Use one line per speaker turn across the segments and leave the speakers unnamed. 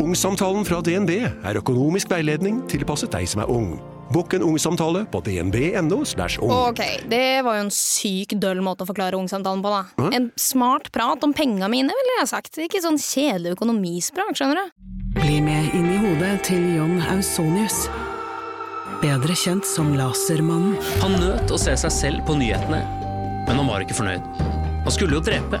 Ungsamtalen fra DNB er økonomisk veiledning tilpasset deg som er ung. Bokk en ungsamtale på dnb.no. slash ung.
Ok, det var jo en syk døll måte å forklare ungsamtalen på, da. En smart prat om penga mine, ville jeg sagt. Ikke sånn kjedelig økonomisprat, skjønner du.
Bli med inn i hodet til John Ausonius. Bedre kjent som Lasermannen.
Han nøt å se seg selv på nyhetene, men han var ikke fornøyd. Han skulle jo drepe.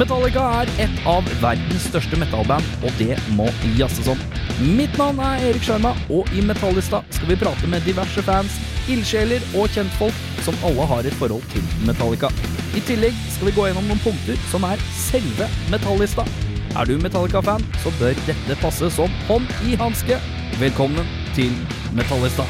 Metallica er et av verdens største metallband, og det må jazzes om. Mitt navn er Erik Sjarma, og i Metallista skal vi prate med diverse fans, ildsjeler og kjentfolk som alle har et forhold til Metallica. I tillegg skal vi gå gjennom noen punkter som er selve Metallista. Er du Metallica-fan, så bør dette passe som hånd i hanske. Velkommen til Metallista.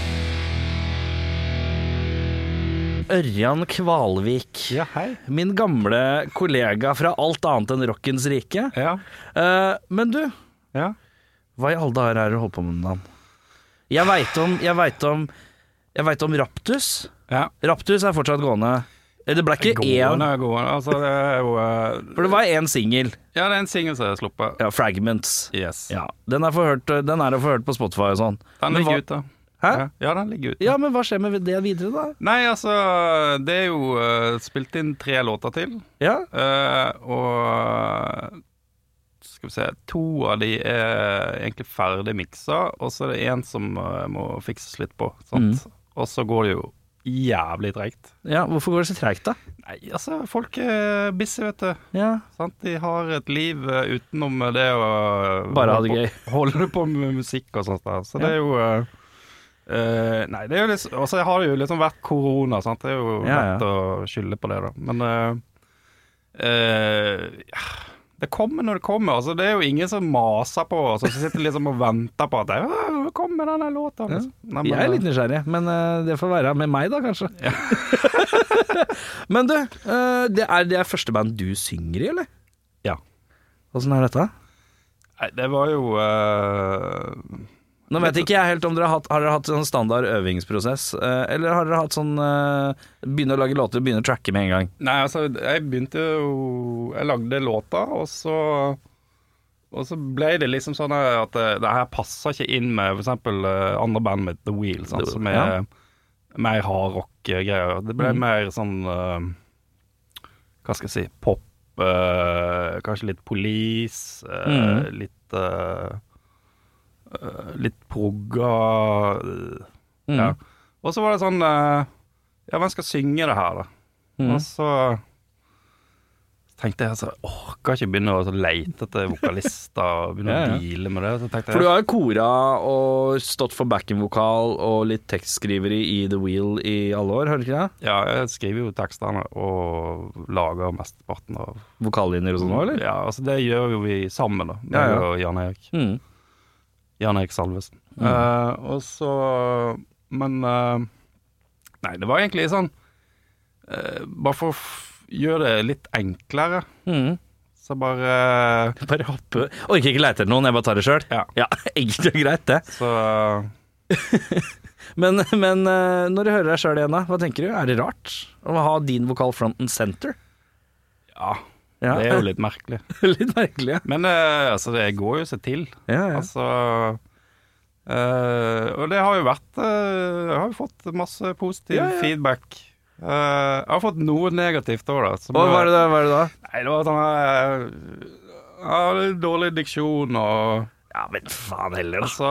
Ørjan Kvalvik.
Ja, hei.
Min gamle kollega fra alt annet enn rockens rike.
Ja,
Eh, men du,
ja.
hva i alle dager er det du holder på med om dagen? Jeg veit om Jeg veit om Jeg vet om Raptus.
ja.
Raptus er fortsatt gående. Eh, Det ble ikke én,
Gående, gående. Altså, det er jo eh,
for det var én singel.
Ja, det er en singel som er sluppet.
Ja, Fragments.
Yes.
Ja, den er, forhørt, eh, den er å få hørt på Spotify og sånn.
Den
Men hva-
ligger ute.
Hæ?
Ja. Ja, den ligger ute.
Ja, men hva skjer med det videre, da?
Nei, altså, det er jo eh, spilt inn tre låter til,
Ja,
eh, og skal vi se, to av de er egentlig ferdig miksa, og så er det en som eh, må fikses litt på, sant? Og så går det jo jævlig tregt.
ja Hvorfor går det så tregt, da?
Nei, altså, folk er busy, vet du.
Ja,
Sant? De har et liv eh, utenom det å
Bare ha det
holde
gøy.
på- Holde på med musikk og sånt. Der. Så
Ja.
det er jo eh, eh, Nei, det er jo litt Og så har det jo liksom vært korona, sant. Det er jo
Ja, ja.
lett å skylde på det, da. Men eh, eh, det kommer når det kommer. Altså, det er jo ingen som maser på oss og så sitter liksom og venter på at «Ja, Nå kommer denne låta.
Ja.
Nei, men,
Jeg er litt nysgjerrig, men eh, det får være med meg da, kanskje. men du, eh, det, er, det er første band du synger i, eller?
Ja.
Åssen er dette?
Nei, det var jo eh,
Nå vet ikke jeg helt om dere har hatt, har dere hatt sånn standard øvingsprosess, eh, eller har dere hatt sånn eh, begynne å lage låter og begynne å tracke med en gang?
Nei, altså, jeg begynte jo Jeg lagde låta, og så Og så ble det liksom sånn at det, det her passer ikke inn med f.eks. andre band med The Wheel, sant, som er
Ja.
mer hardrock-greier. Det ble mer sånn eh, Hva skal jeg si Pop, eh, kanskje litt Police, eh,
Mhm.
litt eh, eh, Litt progga eh,
Mm.
ja. Og så var det sånn eh, Ja, hvem skal synge det her, da?
Mhm.
Og så tenkte jeg altså Orker ikke begynne å så lete etter vokalister og begynne
Ja, ja.
å deale med det. Så tenkte
For du
jeg
har jo kora og stått for backing-vokal og litt tekstskriveri i The Wheel i alle år, hører du ikke det?
Ja, jeg skriver jo tekstene og lager mesteparten av
Vokallinjer og sånn òg, eller?
Ja, altså det gjør jo vi sammen, da.
Ja,
Jeg
ja.
og Jan Erik.
Mm.
Jan Erik Salvesen. Eh, og så Men eh, Nei, det var egentlig sånn eh, Bare for å f- gjøre det litt enklere,
Mm.
så bare
Bare hoppe Orker ikke leite etter noen, jeg bare tar det sjøl.
Ja.
ja, enkelt og greit, det.
Så
Men, men eh, når du hører deg sjøl igjen, da, hva tenker du? Er det rart å ha din vokal front and center?
ja,
Ja.
det er jo litt merkelig.
litt merkelig. Ja.
Men eh, altså, det går jo seg til.
Ja, ja.
Altså eh, Og det har jo vært eh, Jeg har jo fått masse positiv
Ja, ja.
feedback. Eh, jeg har fått noe negativt òg, da. som
Og hva er det da? Hva er det da?
Nei, det var sånn eh, ja, litt Dårlig diksjon og
Ja, men faen heller,
og så,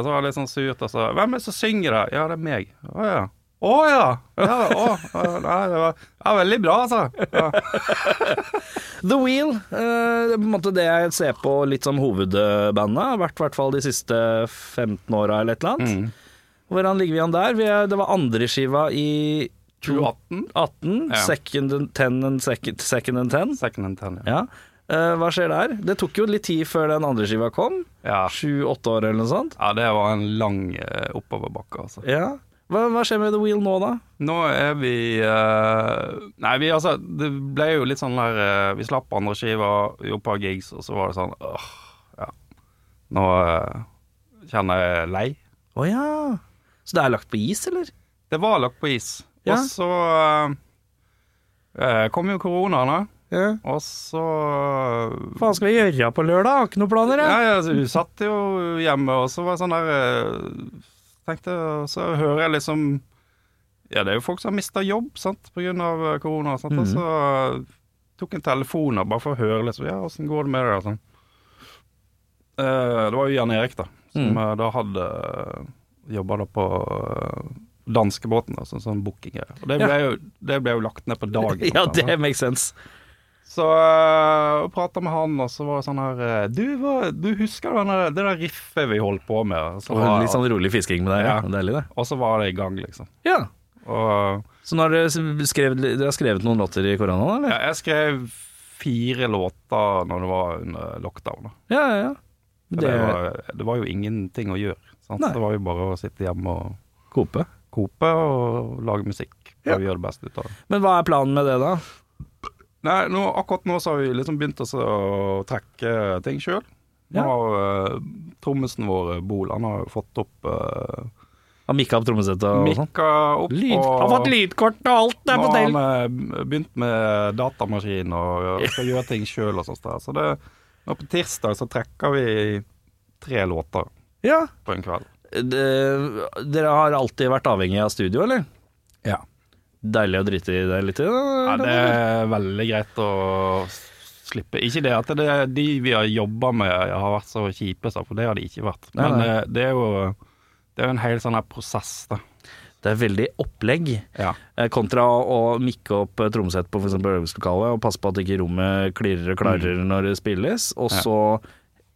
så var det litt sånn surt. Og så Hvem er det som synger det? Ja, det er meg. Å ja. Å ja! ja å, å, nei, det var ja, veldig bra, altså. Ja.
The Wheel, eh, det er på en måte det jeg ser på litt som hovedbandet, har vært i hvert fall de siste 15 åra eller et eller annet. Hvordan ligger vi an der? Vi er, det var andre skiva i
2018.
18,
Ja.
second and ten and second, second and ten.
Second and ten, ja.
Ja. Eh, hva skjer der? Det tok jo litt tid før den andre skiva kom.
ja.
Sju-åtte år eller noe sånt.
Ja, det var en lang eh, oppoverbakke, altså.
Ja. Hva, hva skjer med The Wheel nå, da?
Nå er vi eh, Nei, vi altså Det ble jo litt sånn der eh, Vi slapp andre skiver, gjorde et par gigs, og så var det sånn åh, ja. Nå eh, kjenner jeg lei.
Å ja. Så det er lagt på is, eller?
Det var lagt på is.
Ja.
Og så eh, eh, kom jo koronaen, da.
Ja.
Og så
Hva faen skal vi gjøre på lørdag? Har ikke noen planer, jeg.
Ja, ja, så Hun satt jo hjemme, og så var jeg sånn der eh, Tenkte, og så hører jeg liksom Ja, det er jo folk som har mista jobb sant, pga. korona, sant, og så eh, tok en telefon da, bare for å høre liksom Ja, åssen går det med deg? og Sånn. Eh, det var jo Jan Erik, da,
Mm.
som eh, da hadde jobba da på eh, danskebåten, da, sånn, sånn bookinggreier. Og det ble, jo, det ble jo lagt ned på dagen.
Ja,
sant,
det makes sense.
så øh, og prata med han, og så var det sånn her øh, Du, hva- du husker den der, det der riffet vi holdt på med? Og så,
Og
var,
litt sånn rolig fisking med deg. Ja.
Ja.
Deilig, det.
og så var det i gang, liksom.
Ja.
Og
Så nå har dere skrevet, dere har skrevet noen låter i koronaen,
ja,
eller?
jeg skrev fire låter når det var under lockdown. Da.
Ja, ja. ja.
For
Det
Det,
er
var, det var jo ingenting å gjøre. Sant?
Nei.
Det var jo bare å sitte hjemme og
Kope.
kope og lage musikk. Prøve å gjøre det beste ut av det.
Men hva er planen med det, da?
Nei, nå, akkurat nå så har vi liksom begynt også å trekke ting sjøl. Nå
Ja.
har øh, trommisen vår, Bol, han har jo fått opp øh,
Har mikka opp trommesettet og sånn?
Mikka opp
Lyd.
og
Har fått lydkort og alt! Det er
Nå
på
har
del!
han eh, begynt med datamaskin og og skal gjøre ting sjøl og sånt. der. Så det, nå på tirsdag så trekker vi tre låter
Ja.
på en kveld.
Det- Dere har alltid vært avhengig av studio, eller?
Ja.
Deilig å drite i det litt? Ja,
det er veldig greit å s- slippe. Ikke det at det er de vi har jobba med har vært så kjipe, så, for det har de ikke vært.
Nei,
Men
nei.
eh, det er jo det er jo en hel sånn her prosess, da.
det er veldig opplegg.
Ja.
Eh, Kontra å mikke opp eh, trommesett på f.eks. øvingslokalet og passe på at ikke rommet klirrer og klarrer når det spilles, og så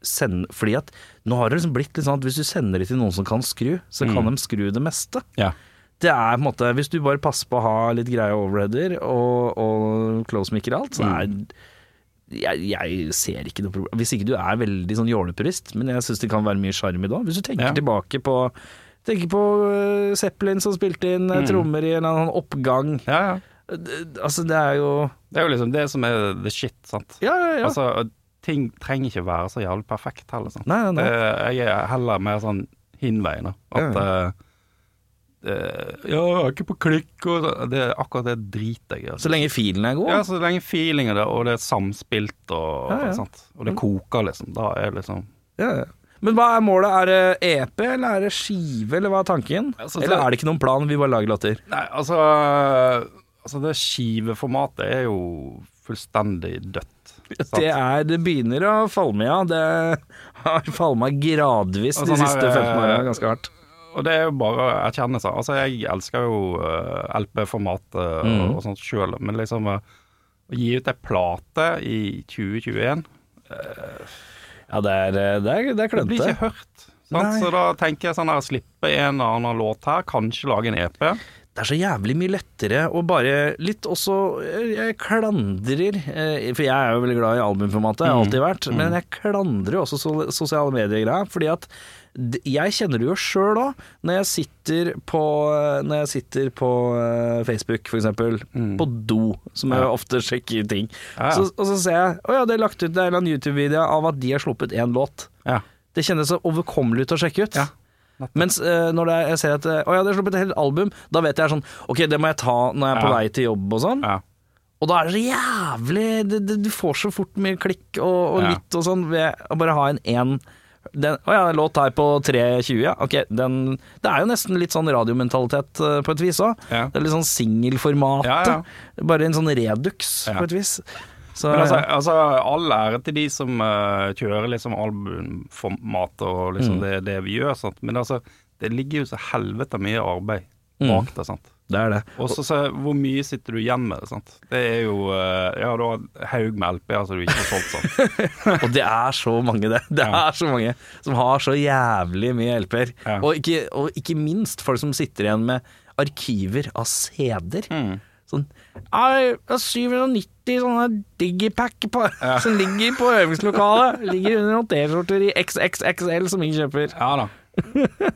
send, fordi at nå har det liksom blitt litt sånn at hvis du sender det til noen som kan skru, så kan de skru det meste.
Ja.
Det er på en måte Hvis du bare passer på å ha litt greie overheader og, og close-mikker og alt, så er jeg, jeg ser ikke noe problem Hvis ikke du er veldig sånn jålepurist, men jeg syns det kan være mye sjarm i det òg. Hvis du tenker
Ja.
tilbake på Tenker på øh, Zeppelin som spilte inn øh, trommer i en eller annen oppgang.
ja, ja.
Det- Altså, det er jo
Det er jo liksom det som er the shit, sant.
Ja, ja, ja.
Altså, ting trenger ikke være så jævlig perfekt heller. Sant?
Nei, nei, nei.
Det- Eh, jeg er heller mer sånn hinveiende. At eh, eh, Ja, jeg er ikke på klikk og så, det, er Akkurat det driter jeg i. altså.
så lenge filen er god.
Ja, så lenge feeling er der, og det er samspilt og,
Ja, Mm. ja.
Sant? og det koker, liksom. Da er det liksom
Ja, ja. Men hva er målet? Er det EP, eller er det skive, eller hva er tanken?
Altså, så-
eller er det ikke noen plan, vi bare lager låter?
Nei, altså, altså Det skiveformatet er jo fullstendig dødt. sant?
Det, er, det begynner å falme, ja. Det har falma gradvis
Og
de
sånn er
siste
det-
15 åra, ganske hardt.
Og det er jo bare å erkjenne seg. Altså, jeg elsker jo eh, LP-formatet og,
Mm.
og sånt sjøl, men liksom eh, å gi ut ei plate i 2021
Ja, det er, det er, det er
Det blir
klønete.
ikke hørt. Sant?
Nei.
Så da tenker jeg sånn her, slippe en eller annen låt her, kanskje lage en E EP.
det er så jævlig mye lettere å bare litt også eh, Jeg klandrer eh, For jeg er jo veldig glad i albumformatet, jeg har
Mm,
alltid vært. Men jeg klandrer jo også so- sosiale medier-greia. Fordi at d- jeg kjenner det jo sjøl òg. Når jeg sitter på, når jeg sitter på eh, Facebook, f.eks. eksempel På do, som jeg ofte sjekker ting.
Mm. Ja, ja.
Så, og så ser jeg Å ja, det er lagt ut en eller annen YouTube-video av at de har sluppet én låt.
Ja.
Det kjennes så overkommelig ut å sjekke ut.
Ja,
Mens eh, når det er, jeg ser at eh, Å ja, det er sluppet et helt album, da vet jeg sånn Ok, det må jeg ta når jeg er på
Ja.
vei til jobb og sånn.
Ja.
Og da er det så jævlig det, det, Du får så fort mye klikk og, og
Ja.
litt og sånn ved å bare ha en én den, å ja, låt her på 3.20, ja. Ok, den Det er jo nesten litt sånn radiomentalitet eh, på et vis òg.
Ja.
Det er litt sånn singelformatet.
Ja, ja.
Bare en sånn redux,
Ja.
på et vis. Så,
Men altså,
ja.
altså all ære til de som eh, kjører liksom albumformat og liksom det, det vi gjør, sant? men altså, det ligger jo så helvete mye arbeid bak det. sant?
det er det.
Og så så hvor mye sitter du igjen med det, sant. Det er jo eh, Ja, du har en haug med LP-er som du ikke har solgt, sant.
Og det er så mange, det. Det
Ja.
er så mange som har så jævlig mye LP-er.
Ja.
Og, ikke- og ikke minst folk som sitter igjen med arkiver av CD-er.
Mm.
Sånn «Ei, det er 790 sånne digipack på, som ligger på øvingslokalet. Ligger under noen T-skjorter i XXXL som ingen kjøper.
Ja da.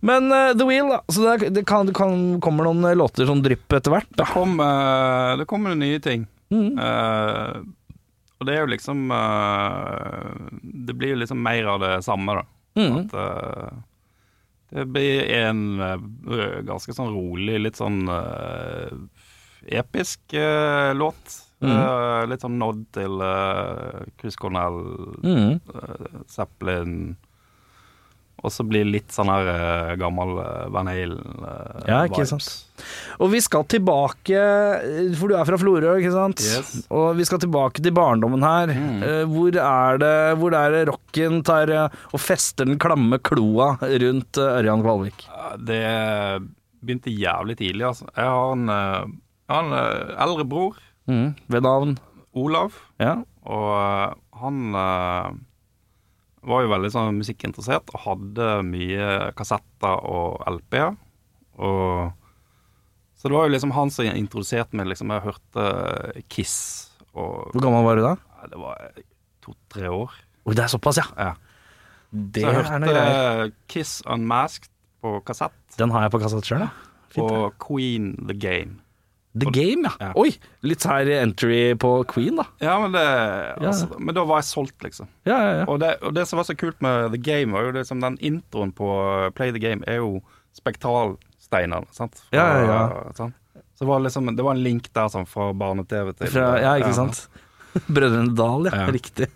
Men eh, The Wheel, da. Så det, er, det kan, det kan, kommer noen eh, låter som drypp etter hvert.
Det kommer, det kommer nye ting.
Mm.
Eh, og det er jo liksom eh, Det blir jo liksom mer av det samme, da.
Mm.
At, eh, det blir en eh, ganske sånn rolig, litt sånn eh, episk eh, låt.
Mm.
Eh, litt sånn nod til uh, Chris Cornell, eh,
Mm.
Zeppelin. Og så blir det litt sånn her eh, gammel eh, Van eh, Halen-vibes.
Ja, ikke sant. Og vi skal tilbake, for du er fra Florø, ikke sant?
Yes.
Og vi skal tilbake til barndommen her. Eh, Hvor er det hvor er det rocken tar eh, og fester den klamme kloa rundt eh, Ørjan Kvalvik?
Ja, Det begynte jævlig tidlig, altså. Jeg har en, eh, jeg har en eh, eldre bror,
Mm. Ved navn
Olav,
Ja.
og eh, han eh, var jo veldig sånn musikkinteressert og hadde mye kassetter og LP-er. Og så det var jo liksom han som introduserte meg, liksom. Jeg hørte eh, Kiss og
Hvor gammel var du da?
Nei, Det var to-tre år.
Oi, det er såpass, ja.
Ja.
Det
Så jeg
er noe greier.
hørte eh, Kiss Unmasked på kassett,
Den har jeg på kassett sjøl, ja. Fint, det.
og Queen The Game.
The Game, ja.
Ja.
Oi! Litt her entry på Queen, da.
Ja, men, det,
Ja.
altså, men da var jeg solgt, liksom.
Ja, ja, ja.
Og det, og det som var så kult med The Game, var jo liksom den introen på eh, Play the Game er jo spektralsteinene, sant? Fra-
Ja, ja,
sant? Så det var liksom, det var en link der sånn fra barne-TV til eh,
Fra, ja, ikke sant? Brødrene Dal, ja.
Ja.
Riktig.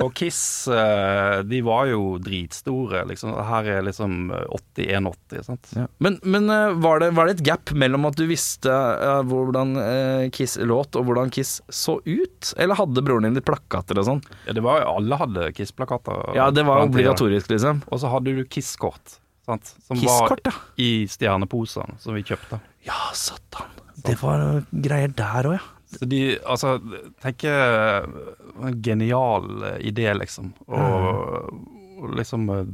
Og Kiss, eh, de var jo dritstore, liksom. Her er liksom 80-81, sant?
Men, men eh, var, det, var det et gap mellom at du visste eh, hvordan eh, Kiss låt, og hvordan Kiss så ut? Eller hadde broren din litt plakater og sånn?
Ja, det var jo Alle hadde Kiss-plakater.
Ja, det
på
var
den tiden.
obligatorisk, liksom.
Og så hadde du Kiss-kort, sant? Som
Kiss-kort, ja.
var i stjerneposene som vi kjøpte.
Ja, satan. Det var eh, greier der òg, ja.
Så de, altså, tenk eh, en genial eh, idé, liksom. Å å liksom eh,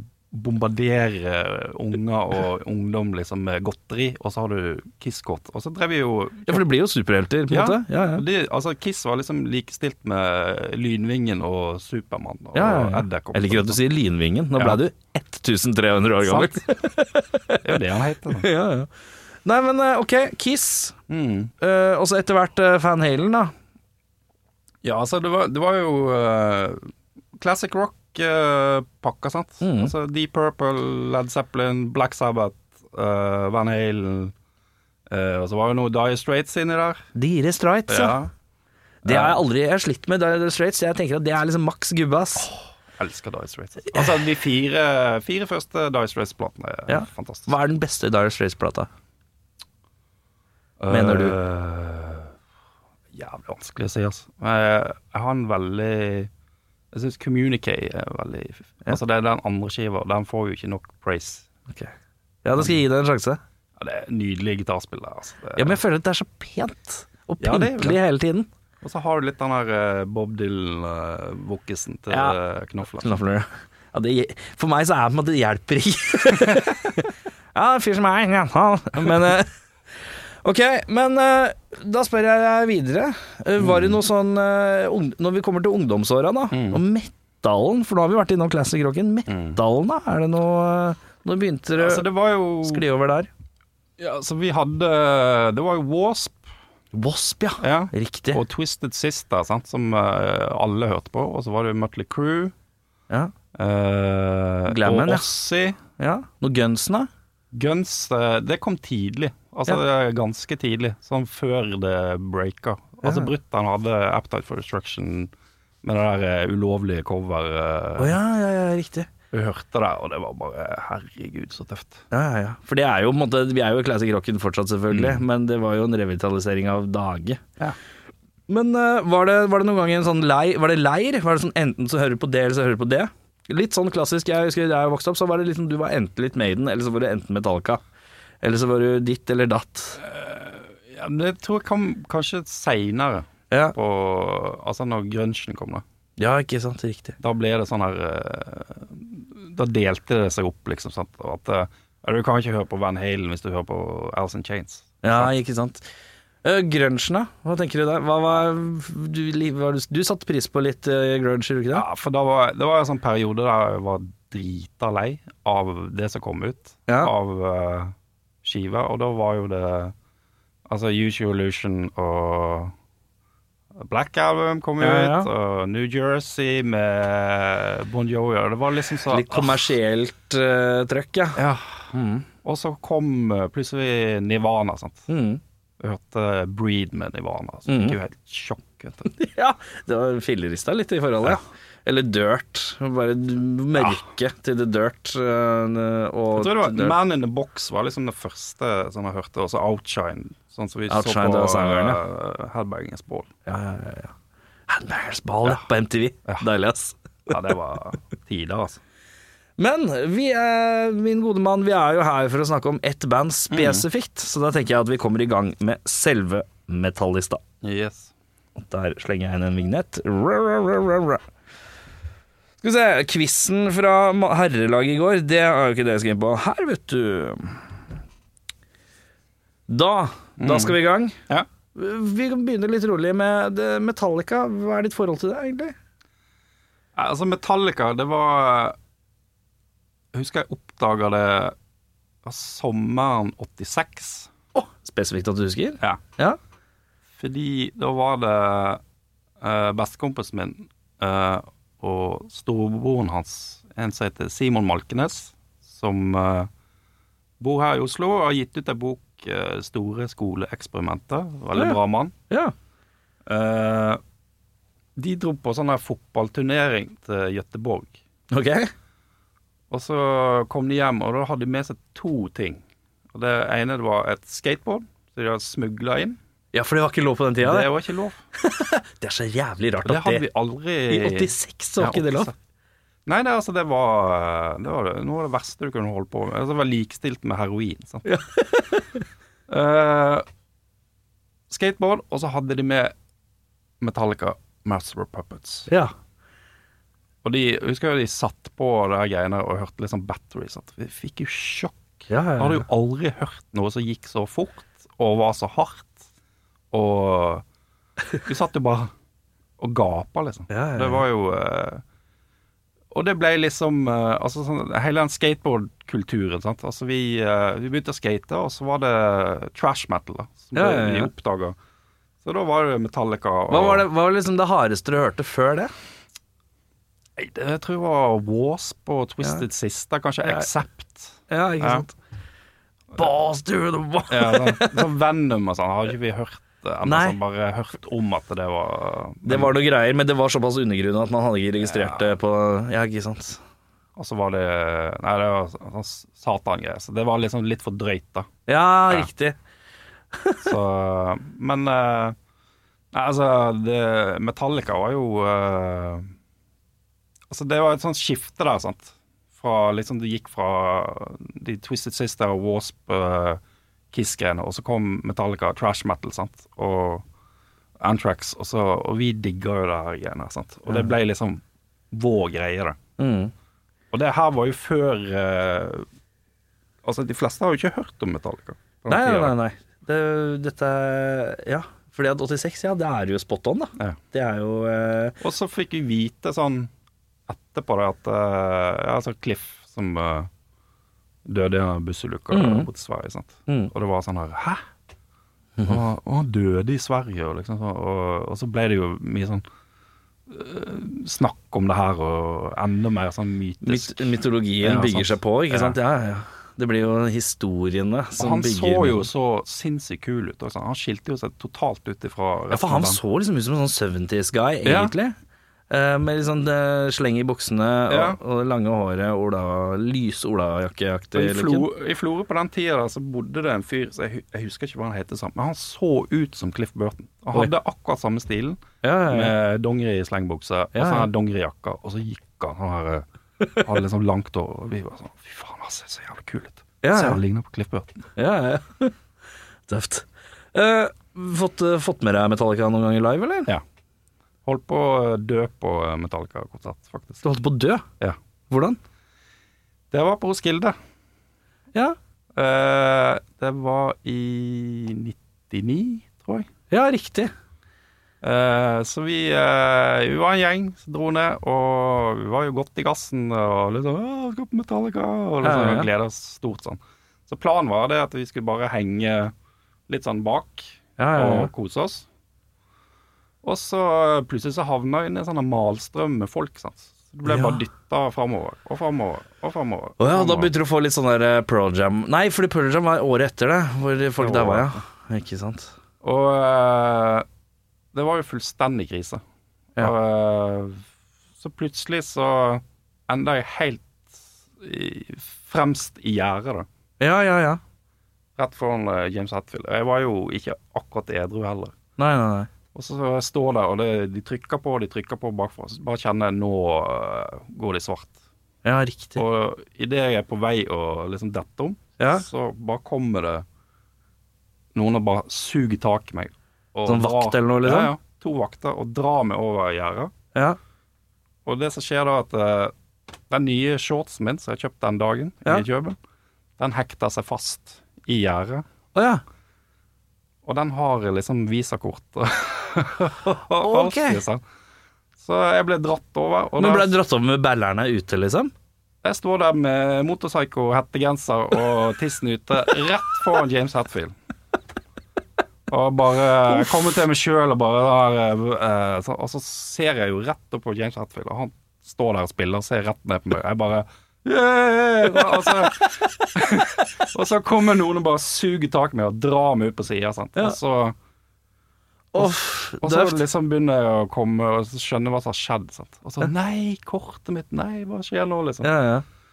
bombardere unger og ungdom liksom, med godteri, og så har du Kiss-kort. Og så drev vi jo
Ja, For det blir jo superhelter, på en måte. Ja, ja.
De, altså, Kiss var liksom likestilt med Lynvingen og Supermann og
Ja, ja, ja.
Edderkoppen.
Jeg liker at du sier Lynvingen. Nå
Ja.
ble du 1300 år gammel.
Det er jo det han heter. da.
ja, ja. Nei, men eh, OK. Kiss.
Mm.
Eh, og så etter hvert eh, Van Halen, da.
Ja, altså det var, det var jo eh, classic rock-pakka, sant?
Mhm.
Altså Deep Purple, Led Zeppelin, Black Sabbath, eh, Van Halen eh, Og så var jo noe Dire Straits inni der.
Dire Straits, ja. Det har jeg aldri jeg har slitt med. Dire Straits. Jeg tenker at det er liksom maks gubbe, ass.
Elsker Dire Straits. altså. Altså de fire, fire første Dire Straits-platene er
Ja.
fantastiske.
Hva er den beste Dire Straits-plata? mener du?
Eh, jævlig vanskelig å si, altså. Men jeg- jeg har en veldig Jeg syns Communicate er veldig Altså det er den andre skiva, den får jo ikke nok praise.
Ja, da skal jeg gi deg en sjanse.
Ja, det er nydelig gitarspill der. Altså. Det,
Ja, Men jeg føler at det er så pent og
Ja, det er jo
pyntelig hele tiden.
Og så har du litt den der eh, Bob Dylan-vokkisen til eh,
Ja.
ja. Knofla.
Knafler. Ja, det, for meg så er det på en måte det hjelper ikke. ja, en fyr som meg. Ja. faen. Men eh, Ok, men eh, da spør jeg deg videre. Eh, var det noe sånn eh, ung- Når vi kommer til ungdomsåra, da, og metallen, for nå har vi vært innom classic rocken. Metallen, da? Er det noe eh, Når begynte det
Altså,
å
det var jo
skli over der?
ja, altså, vi hadde Det var jo Wasp
Wasp, ja.
ja.
Riktig.
og Twisted Sister, sant, som eh, alle hørte på. Og så var det Mutley Crew.
Ja.
eh,
Glammen, ja.
og Ossie.
ja. Noe Gunsen, da?
Guns eh, Det kom tidlig. Altså det er ganske tidlig, sånn før det breaka. Altså
Ja.
Brutter'n hadde Appetite for Destruction med det der eh, ulovlige cover. eh,
Å ja, ja, ja, riktig.
Vi hørte det, og det var bare herregud, så tøft.
Ja, ja, ja. For det er jo, på en måte, vi er jo i classic rocken fortsatt, selvfølgelig, men det var jo en revitalisering av Dage.
Ja.
Men eh, var, det, var det noen gang en sånn leir? Var det leir? Var det sånn enten så hører du på det, eller så hører du på det? Litt sånn klassisk. Jeg husker da jeg vokste opp, så var det liksom du var enten litt Maiden, eller så var du enten Metallica. Eller så var du ditt eller datt.
Eh, Ja, men det tror jeg kom kanskje seinere,
Ja,
altså når grunchen kom. Da
ja ikke sant. Riktig.
Da ble det sånn her eh, Da delte det seg opp, liksom. Sant? Og At, eh, ja, du kan ikke høre på Van Halen hvis du hører på Alice in Chains.
Ja, ikke sant. Uh, grunge, da? Hva tenker du der? Hva var, du, li- var du, du satte pris på litt uh, grunge, gjorde du ikke det?
Ja, for da var, det var en sånn periode der jeg var drita lei av det som kom ut
Ja.
av eh, skiva, og da var jo det Altså Usual Illusion og Black Album kom jo
Ja, ja.
ut, og New Jersey med Bon Jovi, og det var liksom så
Litt kommersielt eh, trøkk, ja.
Ja.
Mm.
Og så kom eh, plutselig Nirvana, sant.
Mm.
Jeg hørte Breed med Nirvana, så
Mhm.
fikk jo helt sjokk. Vet du.
Ja, det var fillerista litt i forholdet. Ja. Eller dirt. Bare d- mørke til the dirt. øh,
Jeg
Og
tror det var
til dirt.
Man in the Box var liksom det første som jeg hørte, og så Outshine. Sånn som vi
Outshine, det
så
var
på
sangeren,
uh, Headbangers Ball.
ja, ja, ja, ja. Handbangers Ball ja. på MTV. Deilig, ass.
Ja, det var tider, altså.
Men vi er, min gode mann, vi er jo her for å snakke om ett band spesifikt, så da tenker jeg at vi kommer i gang med selve metallista.
Yes.
Der slenger jeg inn en vignett. Ra, ra, ra, ra, ra. Skal vi se, quizen fra ma- herrelaget i går, det er jo ikke det jeg skal inn på. Her, vet du. Da, da skal vi i gang.
Ja.
Vi kan begynne litt rolig med det- Metallica. Hva er ditt forhold til det, egentlig?
Nei, Altså, Metallica, det var Jeg husker jeg oppdaga det var sommeren 86.
Å, spesifikt at du husker.
Ja.
Ja.
Fordi da var det eh, bestekompisen min eh, og storebroren hans, en som heter Simon Malkenes, som eh, bor her i Oslo og har gitt ut en bok, eh, 'Store skoleeksperimenter'. Veldig
Ja.
bra mann.
ja.
Eh, de dro på sånn her fotballturnering til Gøteborg.
Ok.
Og så kom de hjem, og da hadde de med seg to ting. Og Det ene det var et skateboard, så de hadde smugla inn.
Ja, for det var ikke lov på den tida.
det
Det,
var ikke lov.
det er så jævlig rart
Og det
at
hadde
det
vi aldri
I 86 så var
Ja,
ikke det lov.
86. Nei, det, altså, det var, det var det- noe av det verste du kunne holde på med. Altså, det var likstilt med heroin. Sant? Eh, skateboard, og så hadde de med Metallica Master of Puppets.
Ja.
Og de, husker jeg de satt på det her greiene og hørte litt sånn battery. Sant? Vi fikk jo sjokk.
Ja, ja,
Jeg hadde jo aldri hørt noe som gikk så fort, og var så hardt. Og vi satt jo bare og gapa, liksom.
Ja, ja, ja.
Det var jo eh, Og det ble liksom eh, altså, sånn, Hele den skateboardkulturen, sant. Altså, vi, eh, vi begynte å skate, og så var det trash metal da, som
Ja, ja, ja.
vi oppdaga. Så da var det Metallica og
Hva var, det, hva var liksom det hardeste du hørte før det?
Nei, det jeg tror jeg var Wasp og Twisted Sister, kanskje
Ja.
Accept.
Ja,
Ja.
Boss, dude, what?
Ja, sånn, sånn Venom og sånn har ikke vi hørt det ennå.
Nei.
Sånn, bare hørt om at det var
Det var noe greier, men det var såpass undergrunnet at man hadde ikke registrert det på Ja, ikke sant.
Og så var det Nei, det var sånn satan-greier. Så det var liksom litt for drøyt, da.
Ja,
Ja.
riktig.
Så Men eh, Nei, altså det, Metallica var jo eh, Altså, det var et sånt skifte der, sant. Fra liksom Det gikk fra de Twisted Sister og Wasp, eh, Kiss-greiene, og så kom Metallica, trash metal, sant. Og Antrax, og så Og vi digga jo det her greiene, sant. Og det ble liksom vår greie, da.
Mm.
Og det her var jo før eh, Altså, de fleste har jo ikke hørt om Metallica. på den
Nei,
tiden.
nei, nei. Det, dette Ja. Fordi at 86, ja, det er jo spot on, da.
Ja.
Det er jo eh,
Og så fikk vi vite sånn etterpå det at eh, ja, altså Cliff som eh, døde i en bussulykka
Mhm.
borte i Sverige, sant.
Mhm.
Og det var sånn her Hæ? Og, og han døde i Sverige, og liksom sånn. Og, og så ble det jo mye sånn eh, snakk om det her, og enda mer sånn mytisk.
myt, Mytologien
Ja,
bygger
sant.
seg på,
Ja.
ikke sant? Ja, ja. Det blir jo historiene
Og
som
han
bygger
så jo så sinnssykt kul ut. Også. Han skilte jo seg totalt ut ifra
Ja, for han så liksom ut som en sånn 70s guy,
Ja.
egentlig. Eh, med litt sånn eh, sleng i buksene og,
Ja.
og det lange håret, Ola, lys olajakkeaktig
I, Flo, I Florø på den tida der, så bodde det en fyr så jeg, hu- jeg husker ikke hva han het, sånn, men han så ut som Cliff Burton. Han
Oi.
hadde akkurat samme stilen,
Ja, ja, ja.
med dongeri i slengbukse og
Ja, ja.
sånn dongerijakke, og så gikk han sånn her eh, Hadde liksom langt hår, og vi var sånn Fy faen, han ser så jævlig kul ut.
Ja, ja.
Ser han ligner på Cliff Burton.
Ja, ja. Tøft. Eh, fått, fått med deg Metallica noen ganger live, eller?
Ja. Holdt på å dø på eh, Metallica-konsert, faktisk.
Du holdt på å dø.
Ja.
Hvordan?
Det var på Roskilde.
Ja,
Eh, det var i 99, tror jeg.
ja riktig.
Eh, så vi, eh, vi var en gjeng som dro ned, og vi var jo godt i gassen og liksom «Å, vi skal på Metallica og liksom,
Ja, ja.
gleda oss stort sånn. Så planen var det at vi skulle bare henge litt sånn bak
Ja, ja, ja.
og kose oss. Og så eh, plutselig så havna vi i en sånn malstrøm med folk. Sant? Så Du ble
Ja.
bare dytta framover og framover og framover.
Å ja, da begynte du å få litt sånn der eh, Pearl Jam Nei, fordi Pearl Jam var året etter det, hvor folk
Ja.
daua, ja. Ikke sant.
Og eh, det var jo fullstendig krise.
Ja.
Og, eh, så plutselig så enda jeg helt i, fremst i gjerdet, da.
Ja, ja, ja.
Rett foran eh, James Hatfield. Jeg var jo ikke akkurat edru heller.
Nei, nei, nei.
Og så står der, og det, de trykker på og de trykker på bakfra. Så bare kjenner jeg nå eh, går det i svart.
Ja, riktig.
Og idet jeg er på vei å liksom dette om,
Ja.
så bare kommer det noen og bare suger tak i meg. og
Sånn
drar-
vakt eller noe, liksom?
Ja, ja. To vakter, og drar meg over gjerdet.
Ja.
Og det som skjer da, at eh, den nye shortsen min som jeg kjøpte den dagen,
Ja.
i Kjøben, den hekter seg fast i gjerdet.
Å ja.
Og den har liksom visakort.
Ok.
Så jeg ble dratt over. Og
Men
da-
ble jeg dratt over med ballerne ute, liksom?
Jeg står der med motorpsycho, hettegenser og tissen ute, rett foran James Hetfield. Og bare jeg kommer til meg sjøl og bare der eh, så, Og så ser jeg jo rett opp på James Hetfield, og han står der og spiller og ser rett ned på meg. Jeg bare «Yeah!» og, så, og så kommer noen og bare suger tak i meg og drar meg ut på sida.
Ja.
Og så,
Uff,
og så
døvt.
liksom begynner jeg å komme og skjønne hva som har skjedd. Sant? Og så Nei, kortet mitt! Nei, hva skjer nå? liksom
Ja, ja.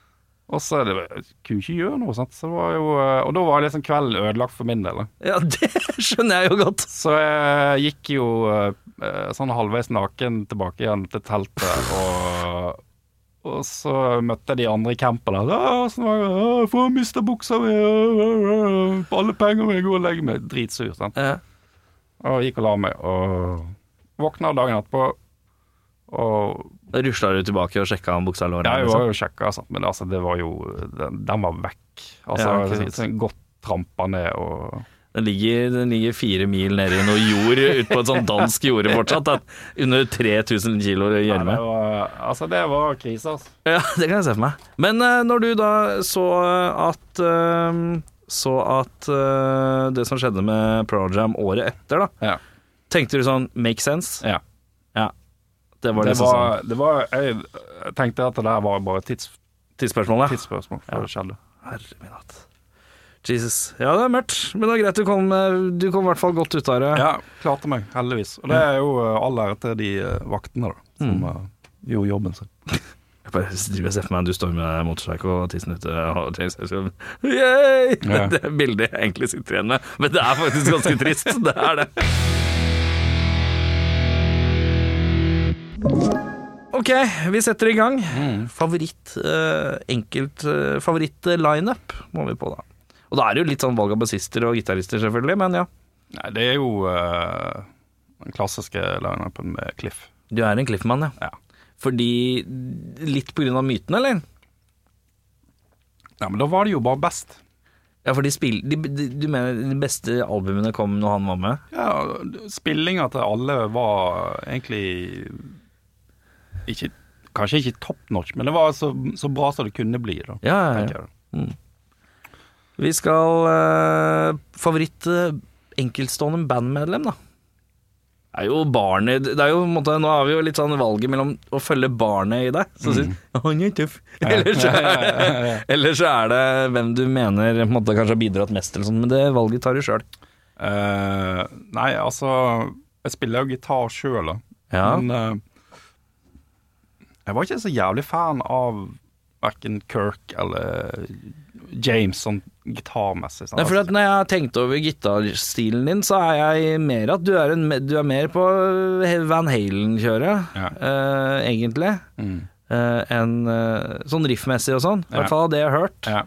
og så er det bare- jeg kunne ikke gjøre noe, sant? Så det var jo, eh, og da var liksom kvelden ødelagt for min del. da.
ja, det skjønner jeg jo godt.
Så jeg gikk jo eh, eh, sånn halvveis naken tilbake igjen til teltet, og, og så møtte jeg de andre i campen der. «Å, Åssen var det? Å, jeg får mista buksa mi! Å, å, å, Alle pengene mine! Gå og legg meg! Dritsur. sant?
Ja.
Og gikk og la meg. Og våkna dagen etterpå, og
Da rusla du tilbake og sjekka om buksa lå
Ja,
der?
jeg var
Liksom.
jo sjekka, sant, men altså, det var jo Den, den var vekk. Altså,
Ja, ikke sant.
sånn godt trampa ned og
Den, ligger, den ligger fire mil nede i noe jord ute på et sånn dansk jorde fortsatt. den- Under 3000 kilo
Nei, det
gjørme.
var, Altså, det var krise, altså.
Ja, det kan jeg se for meg. Men eh, når du da så at eh, Så at eh, det som skjedde med Pearl Jam året etter, da,
Ja.
tenkte du sånn make sense?
ja.
Det var
Det sånn.
liksom
var, det var jeg, jeg tenkte at det der var bare et tids,
sånn
Ah.
tidsspørsmålet.
tidsspørsmål før det skjedde.
Herre min hatt. Jesus. Ja, det er mørkt, men det er greit du kom, eh, du kom i hvert fall godt ut av det.
Ja, klarte meg, heldigvis. Og det er jo eh, all ære til de eh, vaktene, da, som eh, gjorde jobben sin.
Jeg bare driver og ser for meg du står med motorcycle og tissen ute og James Hetfield. Yay!
Ja.
Det er bildet jeg egentlig sitter igjen med, men det er faktisk ganske trist. Det er det. Ok, vi setter i gang. Favoritt eh, enkelt eh, favoritt eh, lineup må vi på, da. Og da er det jo litt sånn valg av bassister og gitarister, selvfølgelig, men ja.
Nei, det er jo eh, den klassiske lineupen med Cliff.
Du er en Cliffman, ja.
Ja.
Fordi Litt på grunn av myten, eller?
Ja, men da var det jo bare best.
Ja, for de spill... De, de, du mener de beste albumene kom når han var med?
Ja, spillinga til alle var egentlig ikke Kanskje ikke top notch, men det var så, så bra som det kunne bli. Da,
Ja, ja,
tenker
ja.
jeg.
Vi skal eh, Favoritt eh, enkeltstående bandmedlem, da. Det er jo barnet det er jo, på en måte, Nå har vi jo litt sånn valget mellom å følge barnet i deg, som syns 'han er tøff', eller så er, det- eller så er det hvem du mener på en måte, kanskje har bidratt mest, eller sånn, men det valget tar du sjøl.
Eh, nei, altså Jeg spiller jo gitar sjøl, da.
Ja.
Men eh, jeg var ikke så jævlig fan av verken Kirk eller James sånn gitarmessig. sånn, sant?
Nei, for at når jeg har tenkt over gitarstilen din, så er jeg mer at du er, en, du er mer på eh, Van Halen-kjøret,
Ja.
eh, egentlig,
Mm.
eh, enn eh, sånn riffmessig og sånn. I
Ja.
hvert fall av det jeg har hørt.
ja,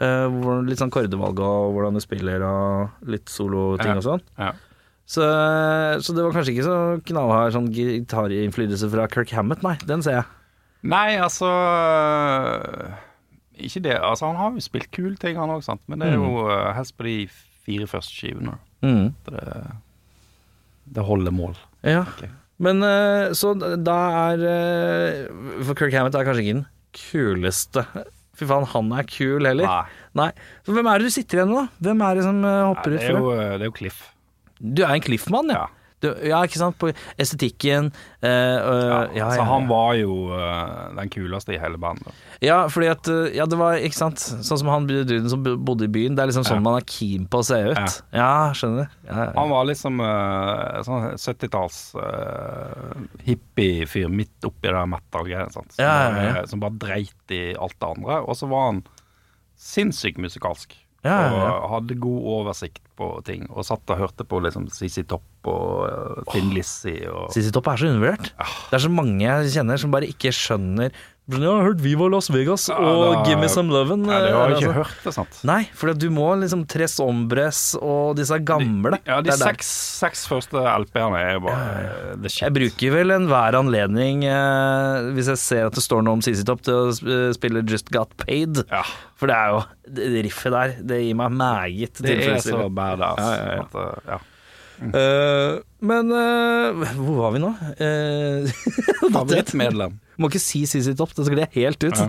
Eh, hvor- litt sånn kordevalg og hvordan du spiller og litt soloting
Ja.
og sånn.
ja.
Så, så det var kanskje ikke så knallhard sånn gitarinnflytelse fra Kirk Hammett, nei. Den ser jeg.
Nei, altså øh, Ikke det. Altså, han har jo spilt kule ting, han òg, Mm. øh, sant. Men det er jo eh, helst på de fire første skivene.
Mm.
Det, Det holder mål.
Ja.
Ok.
Men eh, så da er eh, For Kirk Hammett er kanskje ikke den kuleste. Fy faen, han er kul heller.
Nei.
Nei. Så hvem er det du sitter igjen med, da? Hvem er det som eh,
Nei,
hopper
det,
ut
er
for
jo, øh, det er jo Cliff.
det? Du er en Cliff-mann, ja.
Ja.
Du, ja, ikke sant? På estetikken eh, øh,
Ja,
ja,
Så
ja,
han
ja.
var jo eh, den kuleste i hele bandet.
Ja, fordi at øh, Ja, det var ikke sant Sånn som han duden som bodde i byen. Det er liksom sånn man er keen på å se ut. Ja, skjønner. Ja, ja.
Han var liksom eh, sånn 70-talls eh, hippiefyr midt oppi det metal-greiene. sant? Som,
Ja, ja, ja.
bare- som bare dreit i alt det andre. Og så var han sinnssykt musikalsk.
Ja, ja, ja.
Og hadde god oversikt på ting. Og satt og hørte på liksom CC Topp og uh, Finn Lissi og
CC Topp er så undervurdert. Det er så mange jeg kjenner som bare ikke skjønner Jeg har hørt Viva Las Vegas og
da-
Give Me Some Loven.
Nei, det har jeg
altså.
ikke hørt, det, sant?
Nei, for du må liksom Tres Ombres og disse gamle.
Ja, de
Det er der.
seks, seks første LP-ene er jo bare eh, the shit.
Jeg bruker vel enhver anledning, eh, hvis jeg ser at det står noe om CC Topp, til å sp- eh, spille Just Got Paid.
Ja.
For det er jo det det riffet der. Det gir meg meget
Det er så
tilfredsstillelse.
badass.
Ja, ja, ja.
At, eh, ja.
Eh, men eh, hvor var vi nå? Uh,
Favorittmedlem.
Må ikke si CC Topp, det sklir jeg helt ut.
Ja.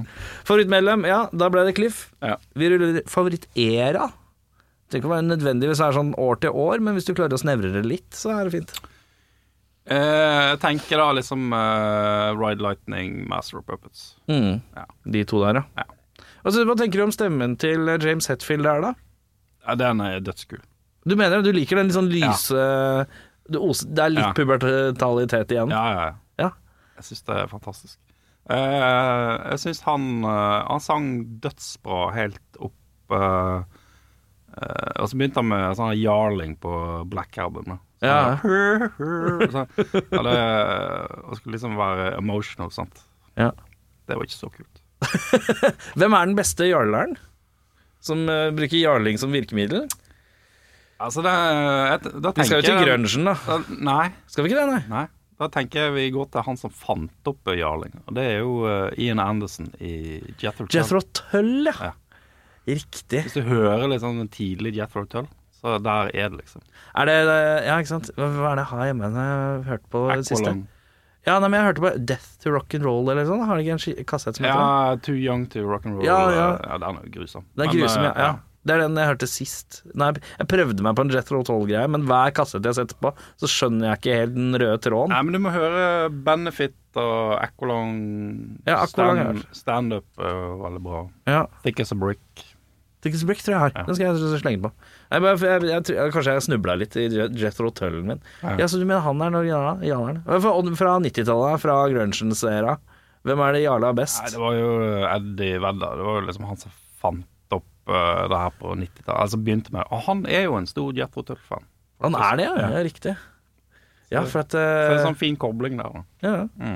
Favorittmedlem, ja, da ble det Cliff.
Ja.
Vi ruller favorittera. Det trenger ikke å være nødvendig hvis det er sånn år til år, men hvis du klarer å snevre det litt, så er det fint.
Eh, jeg tenker da liksom eh, Ride Lightning, Master of Puppets. Ja.
Mm. De to der, ja. Altså, hva tenker du om stemmen til eh, James Hetfield der, da?
Ja, den er dødskul.
Du mener du liker den litt sånn lyse det os- Det er litt
Ja.
pubertalitet igjen.
Ja, ja, ja.
Ja.
Jeg syns det er fantastisk. Eh, jeg syns han eh, Han sang dødsbra helt opp eh, eh, Og så begynte han med sånn jarling på Black Albumet. Så
Ja.
han bare, så, ja, det, og skulle liksom være emotional, sant.
Ja.
Det var ikke så kult.
Hvem er den beste jarleren? Som eh, bruker jarling som virkemiddel?
Altså, det, jeg, da
Vi skal jo til
jeg-
grungen, da.
Da- Nei.
Skal vi ikke det, nei?
Nei. Da tenker jeg vi går til han som fant opp Jarling. Og det er jo eh, Ian Anderson i Jethro Tull.
Jethro Tull, ja.
Ja.
Riktig.
Hvis du hører litt sånn en tidlig Jethro Tull, så der er det liksom.
Er det Ja, ikke sant. Hva hva er det jeg har hjemme jeg har hørt på det siste?
Aqualung.
Ja, nei, men jeg hørte på Death to Rock and Roll eller sånn. Har de ikke en ski- kassett som heter det?
Ja, Too Young to Rock and Roll.
Ja, ja.
den er jo grusom.
Det er
Men,
grusom, ja.
eh,
ja. Det er den jeg hørte sist. Nei, jeg prøvde meg på en Jethro Tull-greie, men hver kassett jeg setter på, så skjønner jeg ikke helt den røde tråden.
Nei, men du må høre Benefit og Aqualung.
Ja, Aqualung har jeg
Stand- Standup er veldig bra.
Ja.
Thick as a brick.
Tickets Brick tror jeg jeg har. Den skal jeg slenge på. Nei, men jeg, jeg, jeg, jeg, kanskje jeg snubla litt i Je- Jethro Tullen min. Ja.
Ja.
Så du mener han er den originale jarleren? Fra, fra 90-tallet, fra grunchens era. Hvem er det jarla best?
Nei, det var jo eh, Eddie Vedder. Det var jo liksom han som fant opp eh, det her på 90-tallet. Altså begynte med Og han er jo en stor Jethro Tull-fan.
Han er det, ja. ja riktig. Ja, for at
Så det er
eh,
en sånn Mm. fin kobling der. da.
ja.